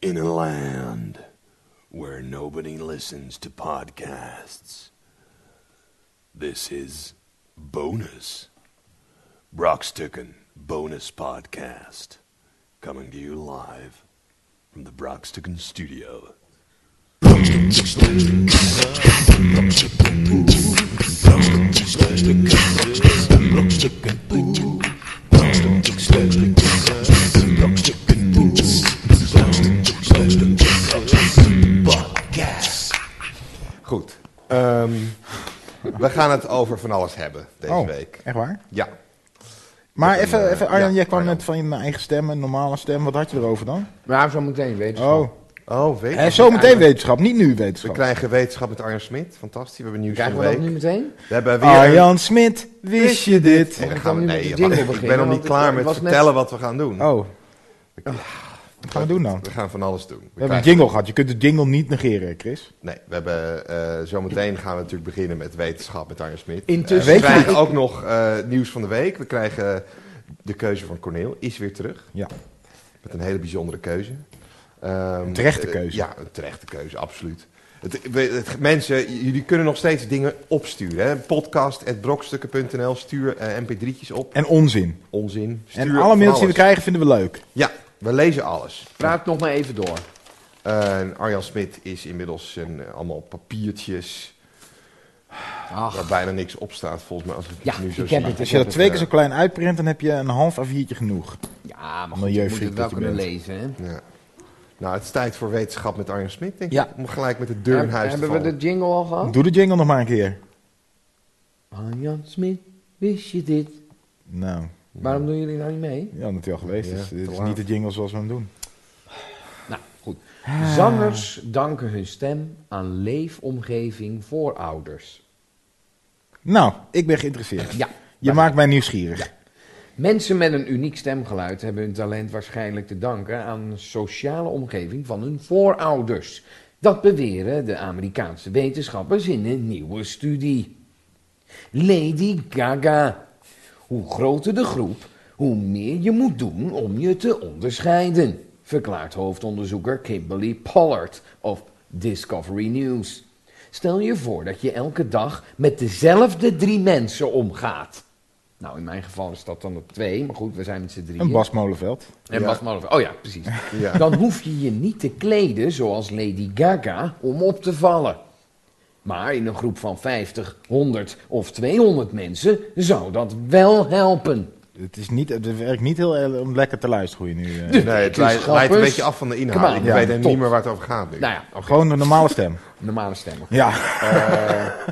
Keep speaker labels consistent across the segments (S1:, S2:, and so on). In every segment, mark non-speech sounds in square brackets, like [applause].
S1: In a land where nobody listens to podcasts, this is bonus. Brocksticken bonus podcast coming to you live from the Brocksticken studio.
S2: Goed. Ehm, we gaan het over van alles hebben deze
S3: oh,
S2: week.
S3: echt waar?
S2: Ja.
S3: Maar
S2: heb een,
S3: even,
S2: eh,
S3: even Arjan,
S2: ja,
S3: jij kwam
S2: Arjan.
S3: net van je eigen stem, een normale stem. Wat had je erover dan?
S4: Maar zo meteen weten.
S3: Oh,
S2: Oh, weet
S3: en
S2: je.
S3: zometeen wetenschap, niet nu
S2: We
S3: wetenschap.
S2: krijgen wetenschap met Arjen Smit. Fantastisch. We hebben nieuws
S4: Krijgen we
S2: van de
S4: dat
S2: week.
S4: nu meteen?
S2: We hebben weer...
S3: Arjan Smit, wist je dit?
S2: Nee, dan gaan we,
S4: Ik kan nu
S2: nee,
S4: met de
S2: wacht,
S4: jingle
S2: ik ben
S4: beginnen,
S2: nog niet
S4: want
S2: klaar
S4: het
S2: met
S4: was net-
S2: vertellen wat we gaan doen.
S3: Oh. Wat gaan we doen dan?
S2: We gaan van alles doen.
S3: We hebben een jingle gehad. Je kunt de jingle niet negeren, Chris.
S2: Nee, we hebben, eh, zometeen gaan we natuurlijk beginnen met wetenschap met Arjen Smit.
S4: Intussen-
S2: Eh, we
S3: Weet je-
S2: krijgen ook nog eh, nieuws van de week. We krijgen de keuze van Corneel, is weer terug.
S3: Ja.
S2: Met een hele bijzondere keuze. Ehm,
S3: Een terechte
S2: eh,
S3: keuze.
S2: ja, een terechte keuze, absoluut. Het, we- het- mensen, j- jullie kunnen nog steeds dingen opsturen. hè. Podcast.brokstukken.nl, stuur eh, mp3'tjes op.
S3: En onzin.
S2: Onzin. Stuur
S3: En alle
S2: van
S3: mails die we
S2: alles.
S3: krijgen vinden we leuk.
S2: Ja, we lezen alles.
S4: Praat nog maar even door.
S2: Eh, en Arjan Smit is inmiddels een, eh, allemaal papiertjes
S4: Ach,
S2: waar bijna niks op staat, volgens mij. Als ik
S4: Ja,
S2: het eh, nu zo
S4: ik heb
S2: zie.
S4: het.
S3: Als je dat twee keer zo klein uitprint, dan heb je een half A4'tje genoeg.
S4: ja, maar goed, je moet
S3: Milieuvriend
S4: het wel
S3: dat je
S4: kunnen
S3: bent.
S4: lezen, hè?
S2: Ja. Nou, het is tijd voor wetenschap met Arjan Smit, denk ik.
S3: Ja.
S2: Om gelijk met de deur in huis te
S4: Hebben we
S2: vallen.
S4: de jingle al gehad? Ah,
S3: Doe de jingle nog maar een keer.
S4: Jan Smit, wist je dit?
S3: Nou,
S4: Waarom doen jullie nou niet mee?
S3: ja, dat is al geweest.
S2: Ja,
S3: is. dit
S2: te
S3: is
S2: laat.
S3: niet de jingle zoals we hem doen.
S4: Nou, goed.
S2: Ah.
S4: Zangers danken hun stem aan leefomgeving voorouders.
S3: Nou, ik ben geïnteresseerd.
S4: Ja.
S3: Je maakt mij nieuwsgierig.
S4: Mensen met een uniek stemgeluid hebben hun talent waarschijnlijk te danken aan de sociale omgeving van hun voorouders. Dat beweren de Amerikaanse wetenschappers in een nieuwe studie. Lady Gaga. Hoe groter de groep, hoe meer je moet doen om je te onderscheiden, verklaart hoofdonderzoeker Kimberly Pollard of Discovery News. Stel je voor dat je elke dag met dezelfde drie mensen omgaat. Nou, in mijn geval is dat dan op twee, maar goed, we zijn met z'n drieën.
S3: Een Bas Molenveld.
S4: En
S2: Ja.
S4: Bas Molenveld. Oh ja, precies.
S2: [laughs] Ja.
S4: Dan hoef je je niet te kleden zoals Lady Gaga om op te vallen. Maar in een groep van 50, 100 of 200 mensen zou dat wel helpen.
S3: Het, is niet, het werkt niet heel erg om lekker te luisteren hoe je nu. eh.
S2: Nee, het
S4: Het is
S2: leidt, leidt een
S4: Dus, grappig.
S2: beetje af van de
S4: Come
S2: inhoud.
S4: on,
S2: Ik
S4: ja,
S2: weet even
S4: top.
S2: niet meer waar het over gaat nu.
S4: Nou ja, oké,
S3: Gewoon een normale stem.
S4: normale stemmen.
S3: Ja.
S5: Eh. [laughs]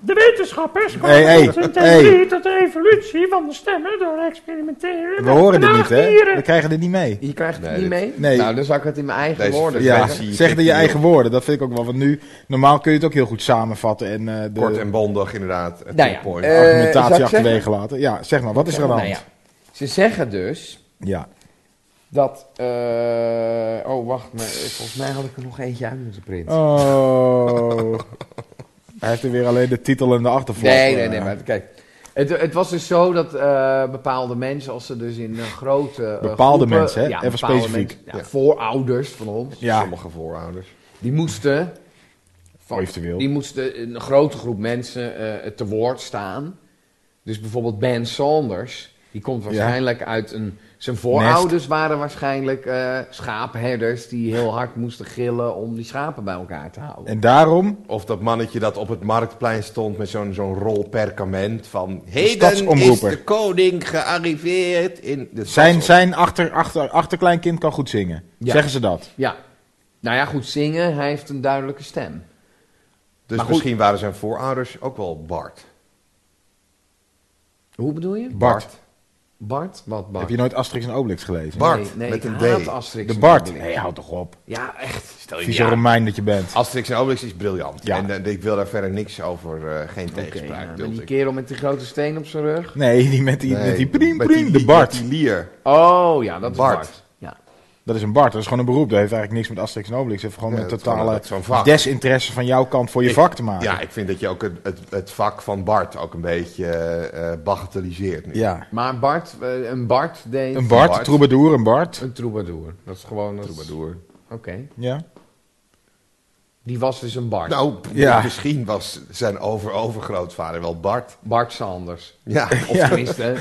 S5: De wetenschappers kwamen
S3: Hey, hey,
S5: tot een
S3: hey.
S5: theorie dat de evolutie van de stemmen door experimenteren
S3: We horen dit niet, hè?
S5: knaagdieren-
S3: We krijgen dit niet mee.
S4: Je krijgt het
S2: Nee,
S4: niet
S2: dit-
S4: mee?
S3: nee.
S4: Nou, dan zal ik het in mijn eigen
S2: Deze
S4: woorden
S3: Ja,
S2: zie
S4: zeggen.
S2: je
S3: zeg het in je
S2: niet
S3: eigen woorden. Dat vind ik ook wel. Want nu, normaal kun je het ook heel goed samenvatten en eh, de
S2: Kort en bondig, inderdaad. Het
S4: Nou ja,
S2: point.
S4: eh, zou
S3: argumentatie
S4: ik
S3: achterwege laten. Ja, zeg maar, wat is er aan de hand?
S4: Nou ja, Ze zeggen dus
S3: ja.
S4: dat... eh, oh, wacht. Maar, eh, volgens mij had ik er nog eentje uit moeten printen.
S3: Oh. [laughs] Hij heeft er weer alleen de titel en de achtervlak.
S4: Nee, nee,
S3: eh.
S4: nee, maar kijk. Het, het was dus zo dat eh, bepaalde mensen, als ze dus in een grote. eh,
S3: Bepaalde mensen, hè? Even
S4: bepaalde
S3: specifiek.
S4: mensen, ja,
S2: Ja.
S4: Voorouders van ons.
S3: Ja,
S2: Sommige voorouders.
S4: Die moesten.
S3: Eventueel.
S4: Die moesten een grote groep mensen eh, te woord staan. Dus bijvoorbeeld Ben Saunders. Die komt waarschijnlijk uit een. Zijn voorouders waren waarschijnlijk eh, schaapherders. die heel hard moesten gillen om die schapen bij elkaar te houden.
S3: en daarom,
S2: Of dat mannetje dat op het marktplein stond met zo'n zo'n rol perkament van... Heden is
S3: stadsomroeper.
S2: de koning gearriveerd in de
S3: zijn,
S2: stadsop-
S3: zijn achter, achter, achterkleinkind kan goed zingen.
S4: Ja.
S3: Zeggen ze dat?
S4: Ja. Nou ja, goed zingen, hij heeft een duidelijke stem.
S2: Dus
S4: maar goed.
S2: misschien waren zijn voorouders ook wel Bart.
S4: Hoe bedoel je?
S3: Bart.
S4: Bart? Wat Bart?
S3: Heb je nooit Asterix en Obelix gelezen?
S2: Bart,
S4: nee, nee,
S2: met
S4: ik
S2: een
S4: haat
S2: D.
S4: Asterix
S3: De
S4: en
S3: Bart.
S4: Obelix.
S3: Nee, hou toch op.
S4: Ja, echt.
S2: Stel
S3: Vieze Romein dat je bent.
S2: Asterix en Obelix is briljant.
S3: Ja.
S2: En eh, ik wil daar verder niks over, eh, geen
S4: Oké,
S2: tegenspraak.
S4: nou,
S2: duld
S4: met die
S2: ik.
S4: kerel met die grote steen op zijn rug.
S3: Nee, die met die,
S2: Nee,
S3: met die priem
S2: met
S3: priem,
S2: die-
S3: de
S2: met
S3: Bart.
S2: die lier.
S4: Oh ja, dat
S2: Bart.
S4: is Bart. Ja.
S3: Dat is een Bart, dat is gewoon een beroep. Dat heeft eigenlijk niks met Asterix en Obelix. Het heeft gewoon
S2: Ja,
S3: met
S2: dat is gewoon-
S3: totale
S2: dat is zo'n vak.
S3: desinteresse van jouw kant voor je
S2: Ik-
S3: vak te maken.
S2: Ja, ik vind dat je ook het, het, het vak van Bart ook een beetje eh, eh, bagatelliseert. Nu.
S3: Ja.
S4: Maar Bart, eh, een Bart deed...
S3: Een Bart,
S2: Bart.
S3: troubadour, een Bart.
S4: Een troubadour. Dat is gewoon... Een troubadour. Oké.
S3: Ja.
S4: Die was dus een Bart.
S2: Nou, p-
S3: Ja.
S2: misschien was zijn over-overgrootvader wel Bart.
S4: Bart Sanders.
S2: Ja,
S4: Of tenminste,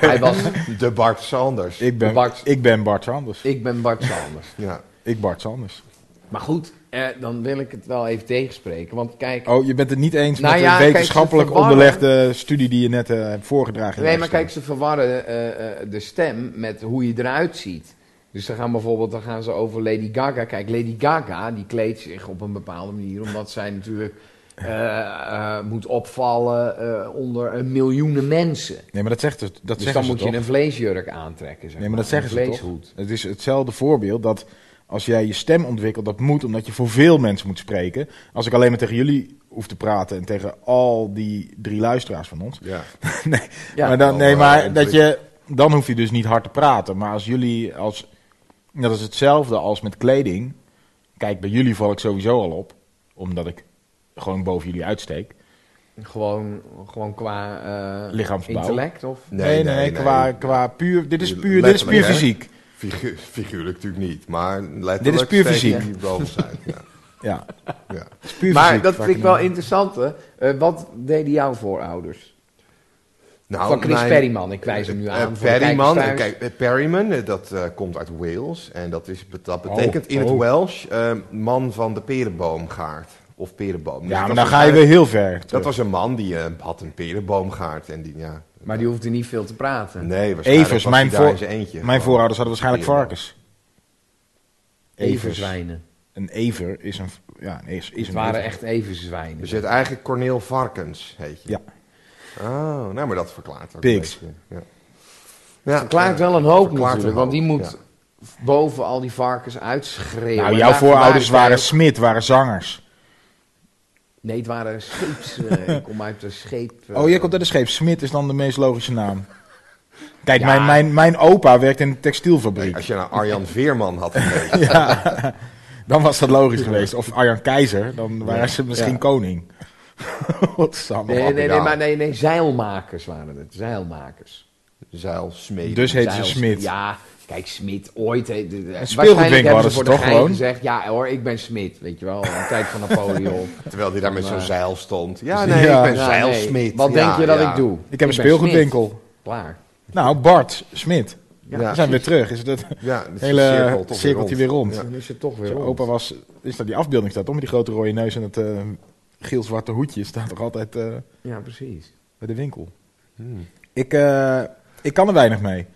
S4: hij was...
S2: de Bart Sanders.
S3: [laughs] Ik ben
S4: Bart.
S3: Bart, ik ben Bart Sanders. Ik,
S4: Ik ben Bart Sanders.
S2: Ja.
S3: Bart Sanders.
S4: Maar goed, eh, dan wil ik het wel even tegenspreken. Want kijk,
S3: Oh, je bent het niet eens
S4: Nou
S3: met
S4: ja,
S3: de
S4: kijk, ze
S3: wetenschappelijk
S4: verwarren-
S3: onderlegde studie die je net eh, hebt voorgedragen. in
S4: Nee,
S3: de
S4: maar kijk,
S3: uitzending.
S4: ze verwarren eh, eh, de stem met hoe je eruit ziet. Dus dan gaan bijvoorbeeld dan gaan ze over Lady Gaga. Kijk, Lady Gaga die kleedt zich op een bepaalde manier, omdat zij natuurlijk eh, eh, moet opvallen eh, onder eh, miljoenen mensen.
S3: Nee, maar dat zegt het. Dat
S4: dus
S3: zeggen
S4: dan
S3: ze
S4: moet je
S3: toch?
S4: een vleesjurk aantrekken. Zeg
S3: Nee, maar dat
S4: een
S3: zeggen ze toch?
S4: vleeshoed.
S3: Het is hetzelfde voorbeeld dat als jij je stem ontwikkelt, dat moet omdat je voor veel mensen moet spreken. Als ik alleen maar tegen jullie hoef te praten en tegen al die drie luisteraars van ons.
S2: Ja.
S3: [laughs] nee,
S4: Ja.
S3: maar dan,
S2: Oh,
S3: nee,
S2: eh,
S3: maar
S2: en
S3: dat
S2: ik-
S3: je, dan hoef je dus niet hard te praten. Maar als jullie, als, dat is hetzelfde als met kleding. Kijk, bij jullie val ik sowieso al op, omdat ik gewoon boven jullie uitsteek.
S4: Gewoon, gewoon qua eh,
S3: Lichaamsbouw.
S4: intellect of
S3: Nee, nee, Qua, qua puur, dit is puur, dit is puur
S2: Letterlijk, hè?
S3: fysiek.
S2: Figu- figuurlijk natuurlijk niet, maar letterlijk
S3: Dit is puur
S2: steekt
S3: fysiek.
S2: hij boven zijn, Ja.
S3: Ja,
S2: Ja.
S3: het is puur
S4: Maar
S3: fysiek,
S4: dat
S3: waar
S4: vind ik
S3: hem-
S4: wel interessant. Hè? Eh, wat deden jouw voorouders?
S2: Nou,
S4: van Chris
S2: mijn-
S4: Perryman, ik wijs hem nu aan.
S2: Eh,
S4: voor de
S2: Perryman,
S4: kijkers thuis.
S2: kijk, eh, Perryman, eh, dat eh, komt uit Wales. En dat, is, dat betekent
S3: Oh,
S2: in het
S3: oh.
S2: Welsh eh, man van de perenboomgaard. Of perenboom. Dus
S3: Ja,
S2: dat
S3: maar dan
S2: was
S3: ga je
S2: een-
S3: weer heel ver. terug.
S2: Dat was een man die eh, had een perenboomgaard. En die, ja,
S4: Maar die hoefde niet veel te praten.
S2: nee, waarschijnlijk
S3: Evers,
S2: was
S3: mijn,
S2: hij daar
S3: voor-
S2: in zijn eentje. Oh.
S3: mijn
S2: Gewoon.
S3: voorouders hadden waarschijnlijk
S2: Perenboom.
S3: varkens.
S4: Everzwijnen.
S3: Een ever is een... v- Ja, een is, is
S4: Het
S3: een
S4: waren
S3: ever.
S4: echt everzwijnen.
S2: Dus je hebt eigenlijk Corneel Varkens, heet je.
S3: Ja.
S2: Oh, nou, maar dat verklaart ook
S3: Pigs.
S2: een beetje. Ja. Ja,
S4: Verklaart
S2: eh,
S4: Nou, wel een hoop
S2: verklaart
S4: natuurlijk,
S2: een
S4: want die
S2: hoop,
S4: moet boven al die varkens uitschreeuwen.
S3: Nou,
S4: En
S3: jouw
S4: daar
S3: voorouders
S4: gebruikt
S3: waren
S4: hij-
S3: smid, waren zangers.
S4: Nee, het waren scheeps...
S3: [laughs]
S4: eh, ik kom uit de scheep... eh,
S3: Oh, jij komt uit de scheep. Smid is dan de meest logische naam. Kijk,
S4: Ja.
S3: mijn, mijn, mijn opa werkte in een
S2: Nee,
S3: textielfabriek.
S2: als je nou
S4: [laughs]
S2: Arjan Veerman had gegeten.
S3: Ja. Dan was dat logisch geweest. Of Arjan Keizer, dan waren ze misschien
S2: Ja.
S3: koning. [laughs] Wat samen.
S4: Nee, nee, nee,
S2: Appeldaal.
S4: maar nee, nee, zeilmakers waren het. Zeilmakers.
S2: Zeil, smeden.
S3: Dus heet ze
S4: Zeils-
S3: Smit.
S4: Ja, kijk, Smit ooit... heet- de- de-
S3: speelgoedwinkel
S4: waarschijnlijk hebben
S3: hadden
S4: ze voor
S3: ze
S4: de
S3: toch
S4: gein
S3: gewoon?
S4: gezegd, ja hoor, ik ben Smit, weet je wel. In de tijd van
S3: [laughs]
S4: Napoleon.
S2: Terwijl hij daar met zo'n
S4: Maar-
S2: zeil stond. Ja, nee,
S3: Dus- Ja.
S2: ik ben
S4: Ja, nee.
S2: zeilsmid.
S4: Wat
S2: Ja,
S4: denk je dat
S2: ja.
S4: ik doe?
S3: Ik heb een
S4: ben
S3: speelgoedwinkel.
S4: Smit. Klaar.
S3: Nou, Bart, Smit.
S2: Ja,
S3: we zijn weer terug. Is dat
S2: Ja, dat is
S3: hele
S2: een cirkel toch weer
S3: cirkeltje weer rond?
S2: Ja.
S4: Dan is het toch weer
S3: Zo,
S4: op.
S3: opa was, is dat die afbeelding staat, toch? Met die grote rode neus en dat eh geel-zwarte hoedje staat toch altijd eh,
S4: Ja, precies.
S3: bij de winkel.
S2: Hmm.
S3: Ik, eh, ik kan er weinig mee.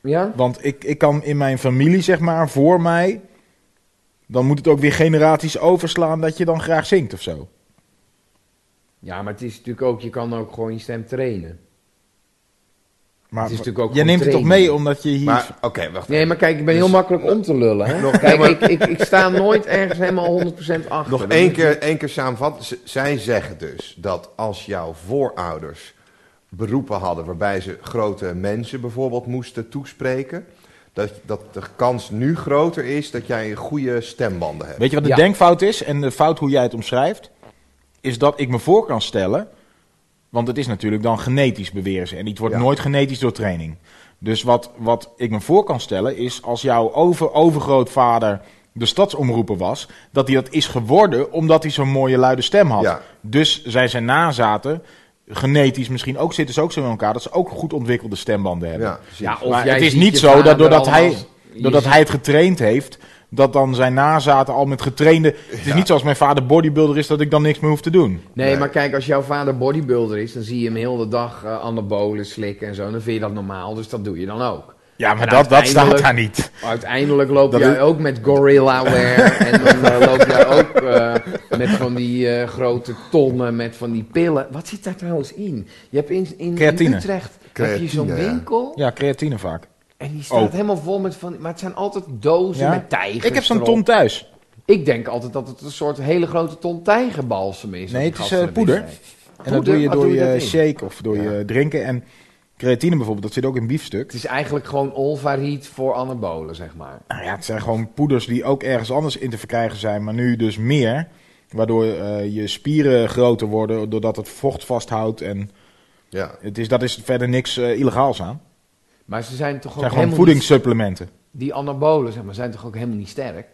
S4: Ja?
S3: Want ik, ik kan in mijn familie, zeg maar, voor mij... Dan moet het ook weer generaties overslaan dat je dan graag zingt of zo.
S4: Ja, maar het is natuurlijk ook, je kan ook gewoon je stem trainen.
S3: Maar
S4: Het is natuurlijk ook
S3: jij
S4: gewoon
S3: neemt het toch
S4: training.
S3: mee omdat je hier...
S2: Maar, oké, wacht
S4: Nee,
S2: even.
S4: maar kijk, ik ben heel makkelijk om te lullen. Hè?
S2: Nog-
S4: kijk,
S2: ja, maar-
S4: ik, ik, ik sta nooit ergens helemaal 100% achter.
S2: Nog
S4: Dat
S2: één
S4: is-
S2: keer, één keer samenvatten. Z- zij zeggen dus dat als jouw voorouders beroepen hadden... waarbij ze grote mensen bijvoorbeeld moesten toespreken... Dat, dat de kans nu groter is dat jij goede stembanden hebt.
S3: Weet je wat de
S4: Ja.
S3: denkfout is en de fout hoe jij het omschrijft? Is dat ik me voor kan stellen, want het is natuurlijk dan genetisch beweren ze. En iets wordt
S2: Ja.
S3: nooit genetisch door training. Dus wat, wat ik me voor kan stellen is als jouw over, overgrootvader de stadsomroeper was, dat hij dat is geworden omdat hij zo'n mooie luide stem had.
S2: Ja.
S3: Dus zijn zijn nazaten, genetisch misschien ook, zitten ze ook zo in elkaar dat ze ook goed ontwikkelde stembanden hebben.
S2: Ja, precies.
S4: Ja, oh. of
S3: Maar
S4: jij
S3: het is
S4: ziet
S3: niet
S4: je
S3: zo dat
S4: vader
S3: doordat
S4: al
S3: hij,
S4: als- je
S3: doordat
S4: ziet-
S3: hij het getraind heeft, dat dan zijn nazaten al met getrainde. Het is niet zoals mijn vader bodybuilder is dat ik dan niks meer hoef te doen.
S4: Nee,
S2: Nee.
S4: maar kijk, als jouw vader bodybuilder is, dan zie je hem heel de dag eh, anabolen slikken en zo. Dan vind je dat normaal, dus dat doe je dan ook.
S3: Ja, maar
S4: En
S3: dat, dat staat
S4: uiteindelijk-
S3: daar niet.
S4: Uiteindelijk loop
S3: Dat
S4: jij
S3: is-
S4: ook met gorilla wear en dan eh, loop jij ook eh, met van die eh, grote tonnen, met van die pillen. Wat zit daar trouwens in? Je hebt in, in, in
S3: Creatine.
S4: Utrecht heb je
S2: Creatine,
S4: zo'n
S2: ja.
S4: winkel
S3: Ja, creatine vaak.
S4: en die staat
S3: Ook.
S4: helemaal vol met van, maar het zijn altijd dozen
S3: Oh. Ja.
S4: met tijgers
S3: Ik heb zo'n
S4: erop.
S3: ton thuis.
S4: Ik denk altijd dat het een soort hele grote ton tijgerbalsem is.
S3: Nee,
S4: dat die
S3: het is,
S4: gasten
S3: eh,
S4: erin
S3: poeder.
S4: zijn.
S3: En dat doe je
S4: Wat
S3: door
S4: doe je
S3: je
S4: dat in?
S3: shake of door je drinken. En Creatine bijvoorbeeld, dat zit ook in biefstuk.
S4: Het is eigenlijk gewoon olvariet voor anabolen, zeg maar.
S3: Nou ja, het zijn gewoon poeders die ook ergens anders in te verkrijgen zijn, maar nu dus meer. Waardoor eh, je spieren groter worden, doordat het vocht vasthoudt. En
S2: Ja.
S3: het is, dat is verder niks eh, illegaals aan.
S4: Maar ze zijn toch
S3: Het
S4: ook
S3: zijn gewoon
S4: helemaal
S3: voedingssupplementen.
S4: niet- Die anabolen, zeg maar, zijn toch ook helemaal niet sterk?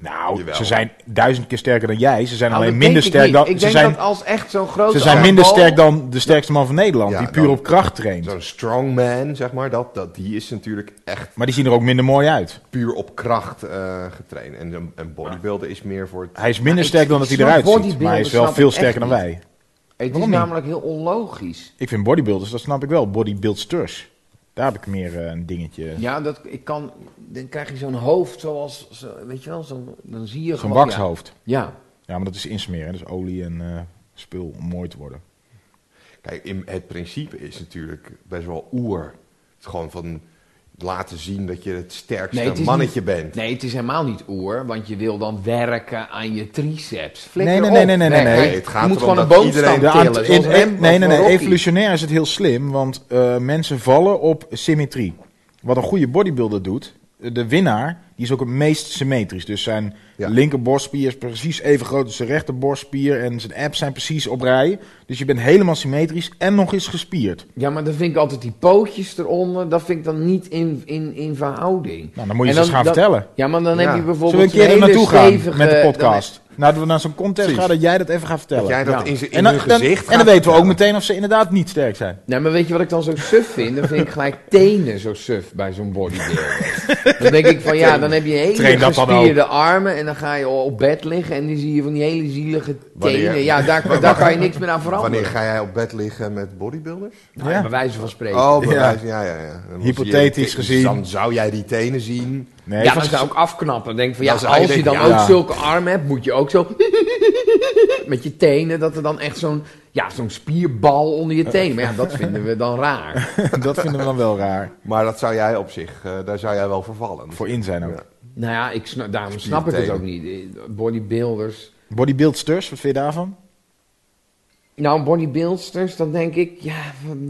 S3: Nou,
S2: Jawel.
S3: ze zijn duizend keer sterker dan jij. Ze zijn
S4: Nou,
S3: alleen
S4: dat
S3: minder
S4: denk
S3: sterk
S4: ik
S3: dan...
S4: niet. Ik
S3: Ze
S4: denk
S3: zijn,
S4: dat als echt zo'n grote
S3: ze zijn minder
S4: anabool-
S3: sterk dan de sterkste man van Nederland,
S2: Ja,
S3: die puur
S2: dan-
S3: op kracht traint.
S2: Zo'n strongman, zeg maar, dat, dat, die is natuurlijk echt
S3: Maar die zien er ook minder mooi uit.
S2: puur op kracht eh, getraind. En een- een bodybuilder is meer voor het...
S3: Hij is minder
S4: ik-
S3: sterk dan dat
S4: ik
S3: hij eruit
S4: snap
S3: ziet. Maar hij is wel
S4: bodybuilders,
S3: veel
S4: snap ik
S3: sterker dan
S4: echt
S3: wij.
S4: Het is
S3: Waarom niet?
S4: namelijk heel onlogisch.
S3: Ik vind bodybuilders, dat snap ik wel, bodybuildsters. Daar heb ik meer eh, een dingetje.
S4: Ja, dat, ik kan, dan krijg je zo'n hoofd zoals, zo- weet je wel, zo'n- dan zie je
S3: Zo'n
S4: gewoon...
S3: waxhoofd.
S4: Ja, ja.
S3: Ja, maar dat is insmeren. Dus olie en eh, spul om mooi te worden.
S2: Kijk, in, het principe is natuurlijk best wel oer. Het is gewoon van laten zien dat je het sterkste
S4: Nee, het is
S2: mannetje
S4: niet-
S2: bent.
S4: Nee, het is helemaal niet oer, want je wil dan werken aan je triceps.
S3: Nee,
S4: Flikker
S3: nee,
S4: op.
S3: nee, nee, nee, nee,
S4: Weg.
S3: nee.
S4: Je
S2: Het gaat
S4: moet
S2: erom
S4: gewoon een
S2: dat
S4: boomstam
S2: iedereen-
S3: De
S4: tillen,
S3: aant-
S4: zoals
S3: in-
S4: Em-
S3: nee, nee,
S4: van
S3: nee.
S4: Rocky.
S3: Evolutionair is het heel slim, want eh, mensen vallen op symmetrie. Wat een goede bodybuilder doet, eh, de winnaar, die is ook het meest symmetrisch. Dus zijn
S2: Ja.
S3: linker borstspier is precies even groot als zijn rechter borstspier. En zijn abs zijn precies op rij. Dus je bent helemaal symmetrisch en nog eens gespierd.
S4: Ja, maar dan vind ik altijd die pootjes eronder, dat vind ik dan niet in, in, in verhouding.
S3: Nou, dan moet je
S4: En
S3: ze eens gaan
S4: dan-
S3: vertellen.
S4: Ja, maar dan
S2: Ja.
S4: heb je bijvoorbeeld
S3: Zullen we een keer er
S4: hele
S3: naartoe gaan
S4: stevige-
S3: met de
S4: dan-
S3: podcast? Nou, dat we naar zo'n contest
S2: Precies.
S3: gaan dat jij dat even gaat vertellen.
S2: Dat jij dat
S4: Ja.
S2: in, ze- in
S3: dan,
S2: hun
S3: dan-
S2: gezicht
S3: en
S2: gaat
S3: dan weten we ook
S2: vertellen.
S3: meteen of ze inderdaad niet sterk zijn.
S4: Nou, maar weet je wat ik dan zo suf vind? Dan vind ik gelijk tenen zo suf bij zo'n bodybuilder. Dan denk ik van ja, dan heb je
S3: Train
S4: hele
S3: dat dan
S4: gespierde armen en dan ga je op bed liggen en dan zie je van die hele zielige
S2: Wanneer-
S4: tenen. Ja, daar, daar kan je niks meer aan veranderen.
S2: Wanneer ga jij op bed liggen met bodybuilders?
S4: Nou,
S3: Ja.
S4: Bij wijze van spreken.
S2: Oh,
S3: Ja.
S2: bewijs, ja, ja, ja. Dan
S3: Hypothetisch
S2: zie je-
S3: gezien.
S2: Dan zou jij die tenen zien.
S3: Nee,
S4: ja,
S3: van-
S4: dan zou ik afknappen. Denk van, ja,
S2: Dan
S4: als
S2: zou je
S4: je dan
S2: denken,
S4: ook
S3: ja.
S4: zulke armen hebt, moet je ook zo... [laughs] met je tenen, dat er dan echt zo'n ja, zo'n spierbal onder je tenen. Maar ja, dat vinden we dan
S2: [laughs]
S4: raar.
S3: [laughs] dat vinden we dan wel raar.
S2: Maar dat zou jij op zich, eh, daar zou jij wel vervallen.
S3: Voor in zijn ook.
S2: Ja.
S4: Nou ja, ik snap, daarom snap ik het ook niet. Eh, Bodybuilders...
S3: Bodybuildsters, wat vind je daarvan?
S4: Nou, bodybuildsters, dan denk ik, ja,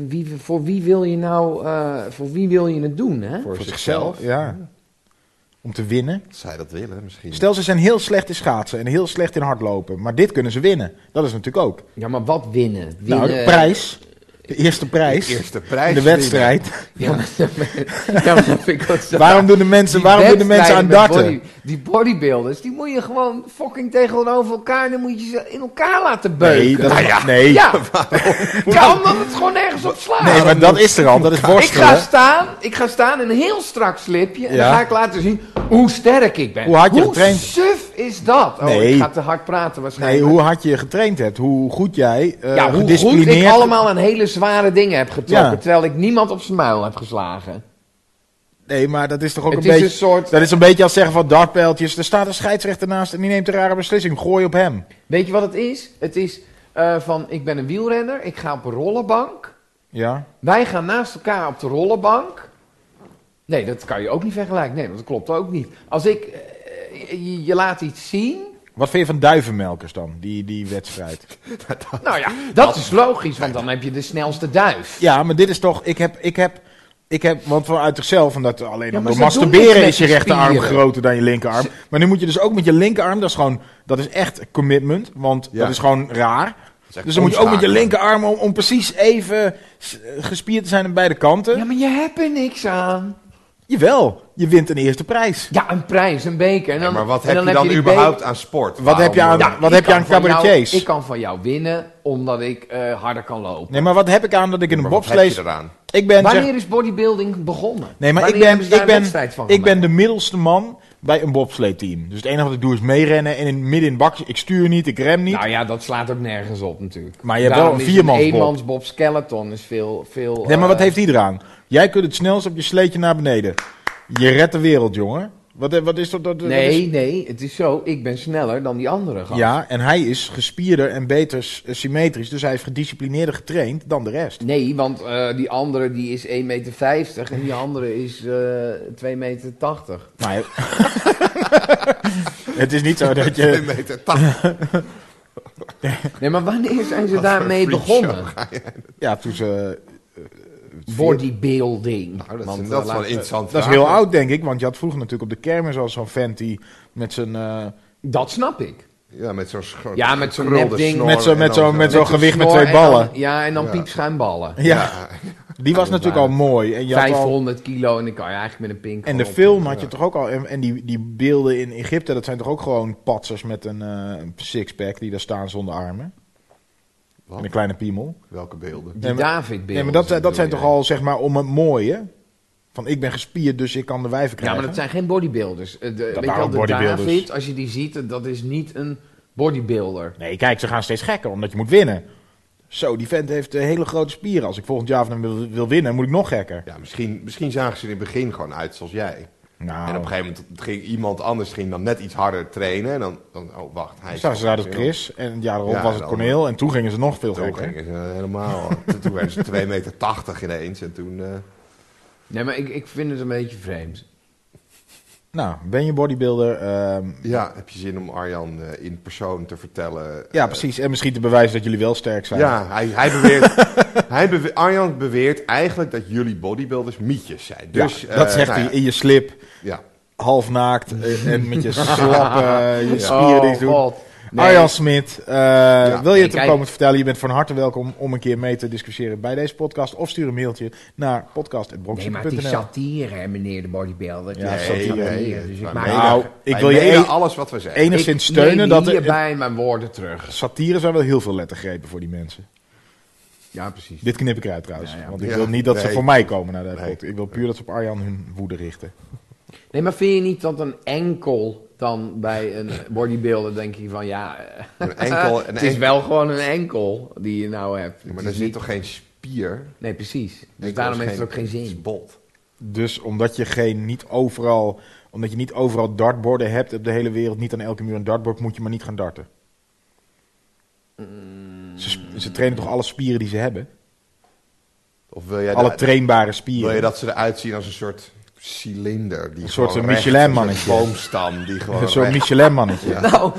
S4: wie, voor wie wil je nou, eh, voor wie wil je het doen, hè?
S2: Voor, zichzelf.
S3: Ja. Om te winnen.
S2: Zij dat willen misschien.
S3: Stel, ze zijn heel slecht in schaatsen en heel slecht in hardlopen. Maar dit kunnen ze winnen. Dat is natuurlijk ook.
S4: Ja, maar wat winnen? winnen
S3: Nou, de prijs. De eerste prijs.
S2: de eerste
S3: in
S2: prijs.
S3: de wedstrijd.
S4: Ja, [laughs] maar, ja, maar dat vind ik ook zo-
S3: [laughs] Waarom doen de mensen,
S4: Die
S3: waarom doen de mensen aan
S4: wedstrijden met
S3: darten?
S4: body- die bodybuilders, die moet je gewoon fucking tegenover elkaar, en dan moet je ze in elkaar laten beuken.
S3: Nee, dat, nee.
S4: Nou Ja,
S3: [laughs]
S4: ja, omdat het gewoon nergens op slaat.
S3: nee, maar dat is er al. Dat is
S4: ik ga
S3: worstelen.
S4: staan, ik ga staan in een heel strak slipje en
S3: Ja.
S4: dan ga ik laten zien hoe sterk ik ben.
S3: Hoe hard je getraind-
S4: suf is dat? Oh,
S3: Nee.
S4: ik ga te hard praten
S3: Nee,
S4: waarschijnlijk.
S3: hoe hard je getraind hebt, hoe goed jij eh
S4: ja, hoe goed
S3: gedisciplineerd...
S4: ik allemaal aan hele zware dingen heb getrokken,
S3: Ja.
S4: terwijl ik niemand op zijn muil heb geslagen.
S3: Nee, maar dat is toch ook
S4: Het
S3: een
S4: is
S3: beetje...
S4: een soort-
S3: Dat is een beetje als zeggen van dartpijltjes. Er staat een scheidsrechter naast en die neemt een rare beslissing. Gooi op hem.
S4: Weet je wat het is? Het is eh, van, ik ben een wielrenner, ik ga op een rollenbank.
S3: Ja.
S4: Wij gaan naast elkaar op de rollenbank. Nee, dat kan je ook niet vergelijken. Nee, want dat klopt ook niet. Als ik, eh, je, je laat iets zien.
S3: Wat vind je van duivenmelkers dan, die, die wedstrijd?
S4: Nou ja, dat is logisch, want dan heb je de snelste duif.
S3: Ja, maar dit is toch... Ik heb... Ik heb ik heb, want vanuit zichzelf, omdat alleen
S4: maar
S3: door
S4: ze doen niks
S3: masturberen
S4: met
S3: is je
S4: die
S3: rechterarm
S4: spieren.
S3: groter dan je linkerarm. Maar nu moet je dus ook met je linkerarm, dat is gewoon, dat is echt commitment, want
S2: Ja.
S3: dat is gewoon raar.
S2: echt
S3: Dus dan moet je ook met je
S2: omschakelen.
S3: linkerarm om, om precies even s- eh, gespierd te zijn aan beide kanten.
S4: Ja, maar je hebt er niks aan.
S3: Jawel, je wint een eerste prijs.
S4: Ja, een prijs, een beker. En dan,
S2: Ja, maar wat
S4: en
S2: heb je dan
S4: die
S2: überhaupt
S4: beker-
S2: aan sport?
S3: Wat heb je aan-
S2: Ja,
S3: Wat
S4: ik
S3: heb je
S4: kan
S3: aan
S4: van jou-
S3: cabaretiers?
S4: ik kan van jou winnen, omdat ik eh, harder kan lopen.
S3: Nee, maar wat heb ik aan dat ik in een
S2: maar eh, wat
S3: bobslees...
S2: heb je eraan?
S3: Ik ben, zeg-
S4: Wanneer is bodybuilding begonnen?
S3: nee, maar ik
S4: Wanneer
S3: ben,
S4: hebben ze daar
S3: ik,
S4: een
S3: ben,
S4: wedstrijd van
S3: ik ben
S4: gemaakt?
S3: de middelste man bij een bobsleeteam. Dus het enige wat ik doe is meerennen en in, midden in het bakje. Ik stuur niet, ik rem dus niet.
S4: Nou ja, dat slaat ook nergens op natuurlijk.
S3: Maar je hebt
S4: Daarom
S3: wel een
S4: is
S3: viermansbob.
S4: eenmansbob skeleton is veel... veel
S3: nee, maar wat
S4: eh,
S3: heeft die eraan? Jij kunt het snelst op je sleetje naar beneden. Je redt de wereld, jongen. Wat, eh, wat is dat? dat dat
S4: Nee,
S3: is-
S4: nee, het is zo. Ik ben sneller dan die andere gast.
S3: ja, en hij is gespierder en beter s- symmetrisch. Dus hij is gedisciplineerder getraind dan de rest.
S4: Nee, want eh, die andere die is 1,50 meter en
S2: [laughs]
S4: die andere is eh 2,80 meter.
S3: Maar hij- [laughs] het is niet zo [laughs] dat je...
S2: [laughs]
S3: Nou,
S2: 1,80 meter. tachtig.
S4: Nee, maar wanneer zijn ze
S2: Wat voor
S4: daarmee
S2: freakshow
S4: begonnen?
S2: ga je-
S3: Ja, toen ze eh,
S4: Bodybuilding.
S2: Nou, dat,
S4: Want,
S2: is,
S4: eh,
S2: dat is wel
S4: laten we-
S2: interessant.
S3: Dat is heel oud, denk ik, want je had vroeger natuurlijk op de kermis al zo'n vent die met zijn. eh,
S4: Dat snap ik.
S2: Ja, met zo'n schor-
S4: Ja, met zo'n
S2: gekrulde
S4: nepding.
S2: snor
S3: Met zo'n-
S2: en
S3: met
S2: dan
S3: zo'n- met zo'n- gewicht
S4: snor
S3: twee
S4: en dan-
S3: ballen.
S4: ja, en dan
S2: Ja.
S4: piepschuimballen.
S3: ja, die was natuurlijk al mooi. En, je had al-
S4: 500 kilo en dan kan je eigenlijk met een pink.
S3: en de
S4: gewoon op-
S3: film had je toch ook al. En, en die, die beelden in Egypte, dat zijn toch ook gewoon patsers met een eh, sixpack die daar staan zonder armen.
S2: Wat?
S3: En een kleine piemel.
S2: Welke beelden?
S4: Die
S3: Nee, maar-
S4: David
S3: Nee, maar dat, dat zijn toch
S4: al.
S3: al zeg maar om het mooie. Van ik ben gespierd, dus ik kan de wijven
S4: Ja,
S3: krijgen.
S4: maar dat zijn geen bodybuilders. Eh, De, weet je
S3: waren
S4: wel, de
S3: bodybuilders.
S4: David, als je die ziet, eh, dat is niet een bodybuilder.
S3: Nee, kijk, ze gaan steeds gekker, omdat je moet winnen. Zo, die vent heeft eh, hele grote spieren. Als ik volgend jaar van hem wil, wil winnen, moet ik nog gekker.
S2: Ja, misschien, misschien zagen ze er in het begin gewoon uit zoals jij. En op
S3: Nou,
S2: een gegeven moment ging iemand anders ging dan net iets harder trainen. En dan, dan oh wacht, hij
S3: dan
S2: is
S3: zagen ze daar
S2: toch
S3: dat
S2: heel-
S3: Chris. En het jaar erop
S2: Ja,
S3: was het
S2: dan-
S3: Corneel. En toen gingen ze nog veel
S2: Toen
S3: gekker.
S2: gingen ze helemaal. toen toen werden ze 2,80 meter ineens. En toen... eh,
S4: Nee, maar ik, ik vind het een beetje vreemd.
S3: Nou, ben je bodybuilder? ehm,
S2: ja, heb je zin om Arjan eh, in persoon te vertellen...
S3: ja, precies. En misschien te bewijzen dat jullie wel sterk zijn.
S2: Ja, hij, hij beweert, [laughs] hij bewe- Arjan beweert eigenlijk dat jullie bodybuilders mietjes zijn.
S3: Ja,
S2: Dus,
S3: dat
S2: eh,
S3: zegt
S2: nou
S3: hij
S2: ja,
S3: in je slip,
S2: Ja,
S3: half naakt eh,
S2: [laughs]
S3: en met je slappe eh, je spieren die
S4: Oh,
S3: ze doen.
S4: God. Nee.
S3: Arjan Smit, eh, wil je
S4: nee,
S3: het hem
S4: kijk-
S3: komen vertellen? Je bent van harte welkom om een keer mee te discussiëren bij deze podcast. Of stuur een mailtje naar
S4: Nee, maar
S3: podcast.brokstukken.nl
S4: het is satire, hè, meneer de bodybuilder.
S3: Ja,
S4: Ja,
S3: satire.
S4: satire.
S2: Nee,
S4: dus
S2: wij
S4: ik maak
S2: menen-
S3: Nou, ik
S2: wij
S3: wil je
S2: menen
S3: één-
S2: alles wat we zeggen.
S3: Enigszins steunen
S4: neem
S3: dat er-
S4: hierbij mijn woorden terug.
S3: Satire zijn wel heel veel lettergrepen voor die mensen.
S4: Ja, precies.
S3: Dit knip ik eruit trouwens.
S4: Ja, ja.
S3: Want ik
S2: Ja,
S3: wil niet dat ze
S2: nee.
S3: voor mij komen naar de
S2: Nee.
S3: podcast. Ik wil puur dat ze op Arjan hun woede richten.
S4: Nee, maar vind je niet dat een enkel dan bij een bodybuilder denk je van ja, eh,
S2: Een enkel, een
S4: [laughs] het is
S2: enkel-
S4: wel gewoon een enkel die je nou hebt. Het
S2: Maar
S4: is
S2: er zit
S4: niet-
S2: toch geen spier?
S4: Nee, precies. Dus
S2: Enkel
S4: daarom
S2: is
S4: heeft het ook geen
S2: Het is
S4: zin.
S2: bot.
S3: Dus omdat je geen niet overal, omdat je niet overal dartborden hebt op de hele wereld, niet aan elke muur een dartbord, moet je maar niet gaan darten.
S4: Mm.
S3: Ze, sp- ze trainen toch alle spieren die ze hebben?
S2: Of wil jij,
S3: alle
S2: dat,
S3: trainbare
S2: wil je
S3: spieren.
S2: dat ze eruit zien als een soort cilinder? Die
S3: Een soort
S2: gewoon
S3: een
S2: recht-
S3: Michelin-mannetje.
S2: Een soort boomstam
S3: [laughs]
S2: die gewoon
S3: Zo'n
S2: recht-
S3: Michelin-mannetje.
S4: [laughs] Nou,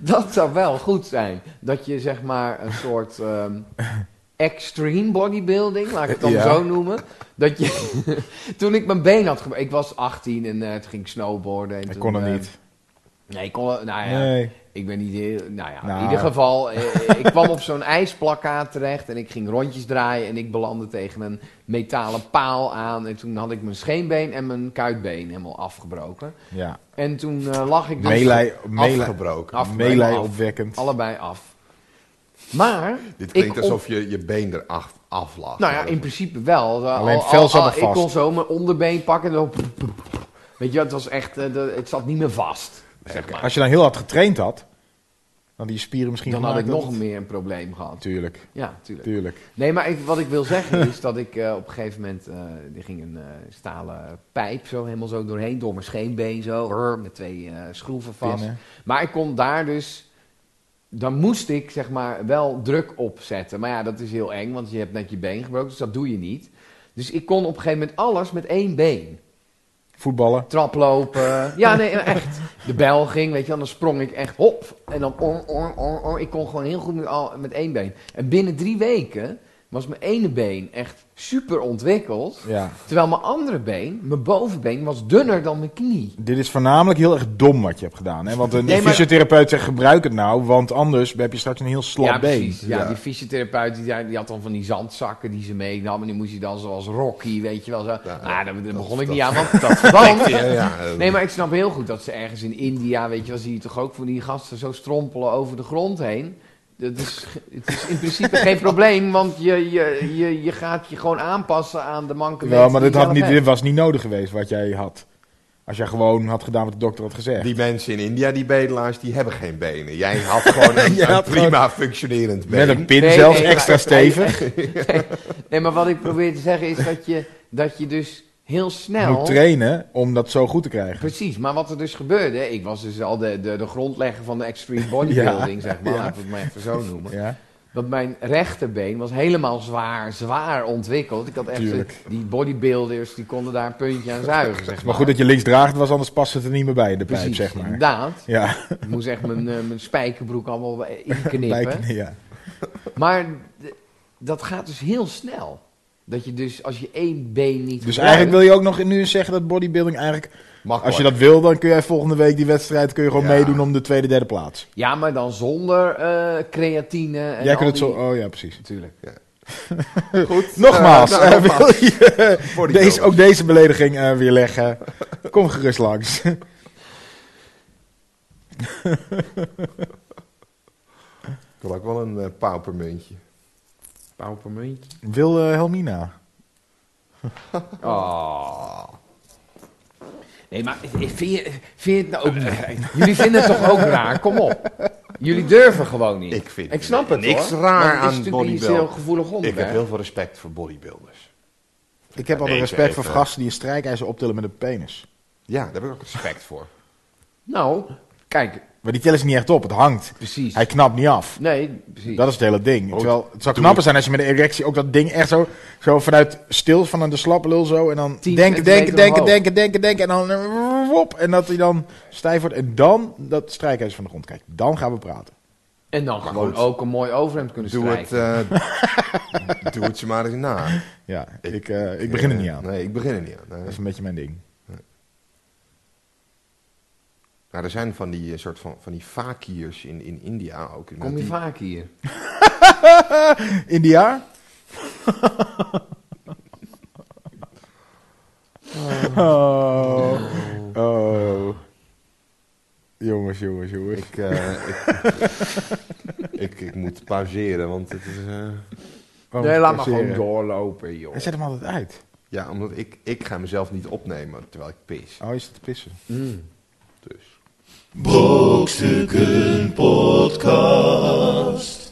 S4: dat zou wel goed zijn. Dat je zeg maar een soort ehm, extreme bodybuilding, laat ik het dan
S3: Ja.
S4: zo noemen. Dat je, [laughs] toen ik mijn been had gebroken, ik was 18 en eh, het ging snowboarden. En
S3: Ik
S4: toen,
S3: kon het
S4: eh,
S3: niet.
S4: Nee, ik kon het, nou ja.
S3: Nee.
S4: Ik ben niet heel. Nou ja,
S3: Nou.
S4: in ieder geval. eh, ik kwam op zo'n ijsplakkaat terecht en ik ging rondjes draaien. En ik belandde tegen een metalen paal aan. En toen had ik mijn scheenbeen en mijn kuitbeen helemaal afgebroken.
S3: Ja.
S4: En toen eh, lag ik dus.
S3: Meelij, meelij,
S2: afgebroken.
S4: Af-
S3: meelij
S4: af.
S3: opwekkend.
S4: Allebei af. Maar.
S2: Dit klinkt
S4: ik
S2: alsof je je been er af, af lag.
S4: Nou ja, in principe wel. Eh,
S3: Alleen
S4: al-
S3: het vel
S4: al-
S3: zat
S4: al-
S3: er vast.
S4: Ik kon zo mijn onderbeen pakken. En dan, weet je, het was echt. eh, de- het zat niet meer vast. Zeg maar.
S3: Als je dan heel hard getraind had, dan hadden je spieren misschien
S4: Dan had ik
S3: gemaakt dat
S4: nog
S3: het-
S4: meer een probleem gehad.
S3: Tuurlijk,
S4: Ja, tuurlijk.
S3: tuurlijk.
S4: Nee, maar ik, wat ik wil zeggen is dat ik eh, op een gegeven moment... eh, er ging een eh, stalen pijp zo helemaal zo doorheen, door mijn scheenbeen zo, rrr, met twee eh, schroeven vast.
S3: Pinnen.
S4: Maar ik kon daar dus... Dan moest ik zeg maar wel druk op zetten. Maar ja, dat is heel eng, want je hebt net je been gebroken, dus dat doe je niet. Dus ik kon op een gegeven moment alles met één been.
S3: Voetballen.
S4: Traplopen. Ja, nee, echt. De bel ging, weet je wel. Dan sprong ik echt hop. En dan on, on, on, on. Ik kon gewoon heel goed met, al, met één been. En binnen drie weken was mijn ene been echt super ontwikkeld.
S3: Ja.
S4: Terwijl mijn andere been, mijn bovenbeen, was dunner dan mijn knie.
S3: Dit is voornamelijk heel erg dom wat je hebt gedaan. Hè? Want een
S4: Nee, maar-
S3: fysiotherapeut zegt gebruik het nou, want anders heb je straks een heel slap
S4: ja,
S3: been.
S4: precies. Ja,
S2: Ja.
S4: die fysiotherapeut die, zei- die had dan van die zandzakken die ze meenam. En die moest je dan zoals Rocky, weet je wel. Zo. ah, daar, daar begon ik niet aan, want dat verband.
S2: Ja, ja,
S3: Ehm,
S2: eh,
S4: Nee, maar ik snap heel goed dat ze ergens in India, weet je wel, zie je toch ook van die gasten zo strompelen over de grond heen. Dat is, het is in principe
S3: [laughs]
S4: geen probleem, want je, je, je, je gaat je gewoon aanpassen aan de mankementen.
S3: Wel, maar dit,
S4: die je
S3: had niet,
S4: zelf
S3: dit
S4: hebt.
S3: was niet nodig geweest wat jij had. Als jij gewoon had gedaan wat de dokter had gezegd.
S2: Die mensen in India, die bedelaars, die hebben geen benen. Jij had
S3: [laughs]
S2: gewoon een,
S3: Jij
S2: een
S3: had
S2: prima functionerend been.
S3: Met een pin
S4: Nee,
S3: zelfs,
S4: nee,
S3: extra
S4: maar-
S3: stevig.
S4: Nee, maar wat ik probeer te zeggen is dat je, dat je dus heel
S3: Je
S4: snel...
S3: moet trainen om dat zo goed te krijgen.
S4: Precies, maar wat er dus gebeurde, ik was dus al de, de, de grondlegger van de
S3: [laughs]
S4: extreme bodybuilding, zeg maar,
S3: ja.
S4: laten we het maar even zo noemen.
S3: Ja.
S4: Dat mijn rechterbeen was helemaal zwaar, zwaar ontwikkeld. Ik had echt
S3: Tuurlijk.
S4: die bodybuilders, die konden daar een puntje aan zuigen. Zeg maar.
S3: [laughs] Maar goed dat je links draagt was, anders past het er niet meer bij in de pijp,
S4: Precies,
S3: zeg maar.
S4: inderdaad.
S3: Ja,
S4: Ik moest echt mijn, eh, mijn spijkerbroek allemaal
S3: bij
S4: inknippen.
S3: ja.
S4: Maar d- dat gaat dus heel snel. Dat je dus, als je één been niet
S3: Dus
S4: gebruikt-
S3: eigenlijk wil je ook nog nu eens zeggen dat bodybuilding eigenlijk...
S2: Makkelijk.
S3: Als je dat wil, dan kun jij volgende week die wedstrijd kun je gewoon
S2: Ja.
S3: meedoen om de tweede, derde plaats.
S4: Ja, maar dan zonder eh, creatine en
S3: jij
S4: al
S3: kunt het zo...
S4: die-
S3: Oh ja, precies.
S4: Natuurlijk.
S2: Goed.
S3: Nogmaals,
S2: Eh, nou,
S3: eh,
S2: nogmaals.
S3: wil je eh,
S2: [laughs] Voor die
S3: deze,
S2: jongens.
S3: ook deze belediging eh, weer leggen? Kom gerust langs. [laughs]
S2: Ik wil ook wel een eh, paupermuntje.
S4: Paupermuntje.
S3: Wil eh, Helmina?
S4: Oh. Nee, maar eh, vind je, vind je het nou ook niet? Jullie vinden het toch ook raar? Kom op. Jullie durven gewoon niet.
S2: Ik vind
S4: ik snap het
S2: niks
S4: hoor.
S2: raar
S4: Want het
S2: aan
S4: is natuurlijk iets
S2: bodybuilding.
S4: heel gevoelig
S2: Ik
S4: onderwerp.
S2: heb heel veel respect voor bodybuilders.
S3: Ik heb altijd
S2: nee,
S3: respect
S2: even.
S3: voor gasten die een strijkijzer optillen met een penis.
S2: Ja, daar heb ik ook respect voor.
S4: Nou, kijk,
S3: Maar die tellen ze niet echt op, het hangt.
S4: precies.
S3: Hij knapt niet af.
S4: Nee, precies.
S3: Dat is het hele ding.
S2: Goed.
S3: Terwijl het
S2: Oh,
S3: zou
S2: Doe
S3: knapper zijn als je met een erectie ook dat ding echt zo, zo vanuit stil, van de slappe lul zo. En dan
S4: 10
S3: denken, denken,
S4: centimeter
S3: denken,
S4: omhoog.
S3: denken, denken, denken. En dan eh, wop. En dat hij dan stijf wordt. En dan dat strijkijzer van de grond kijkt. Dan gaan we praten.
S4: En dan gewoon
S2: goed.
S4: ook een mooi overhemd kunnen
S2: Doe het,
S4: strijken.
S2: eh, doe het ze maar eens
S3: [laughs]
S2: na.
S3: Ja,
S2: Ik-
S3: ik, eh, ik begin er
S2: Eh,
S3: niet aan.
S2: Nee, ik begin er niet aan.
S3: Dat
S2: Nee.
S3: is een beetje mijn ding.
S2: Maar er zijn van die eh, soort van, van die fakirs in, in India ook. Nou,
S4: Kom je
S2: die,
S4: vaak hier? [laughs]
S3: India? Oh. Oh. Jongens, jongens, jongens.
S2: Ik, eh, ik, [laughs] ik, ik moet pauzeren, want het is... eh,
S3: Waarom
S4: Nee, laat maar gewoon
S3: forceren?
S4: doorlopen, joh.
S3: Hij zet hem altijd uit.
S2: ja, omdat ik, ik ga mezelf niet opnemen terwijl ik pis.
S3: Oh, is het te pissen.
S4: Mm.
S2: Dus.
S1: Brokstukken Podcast.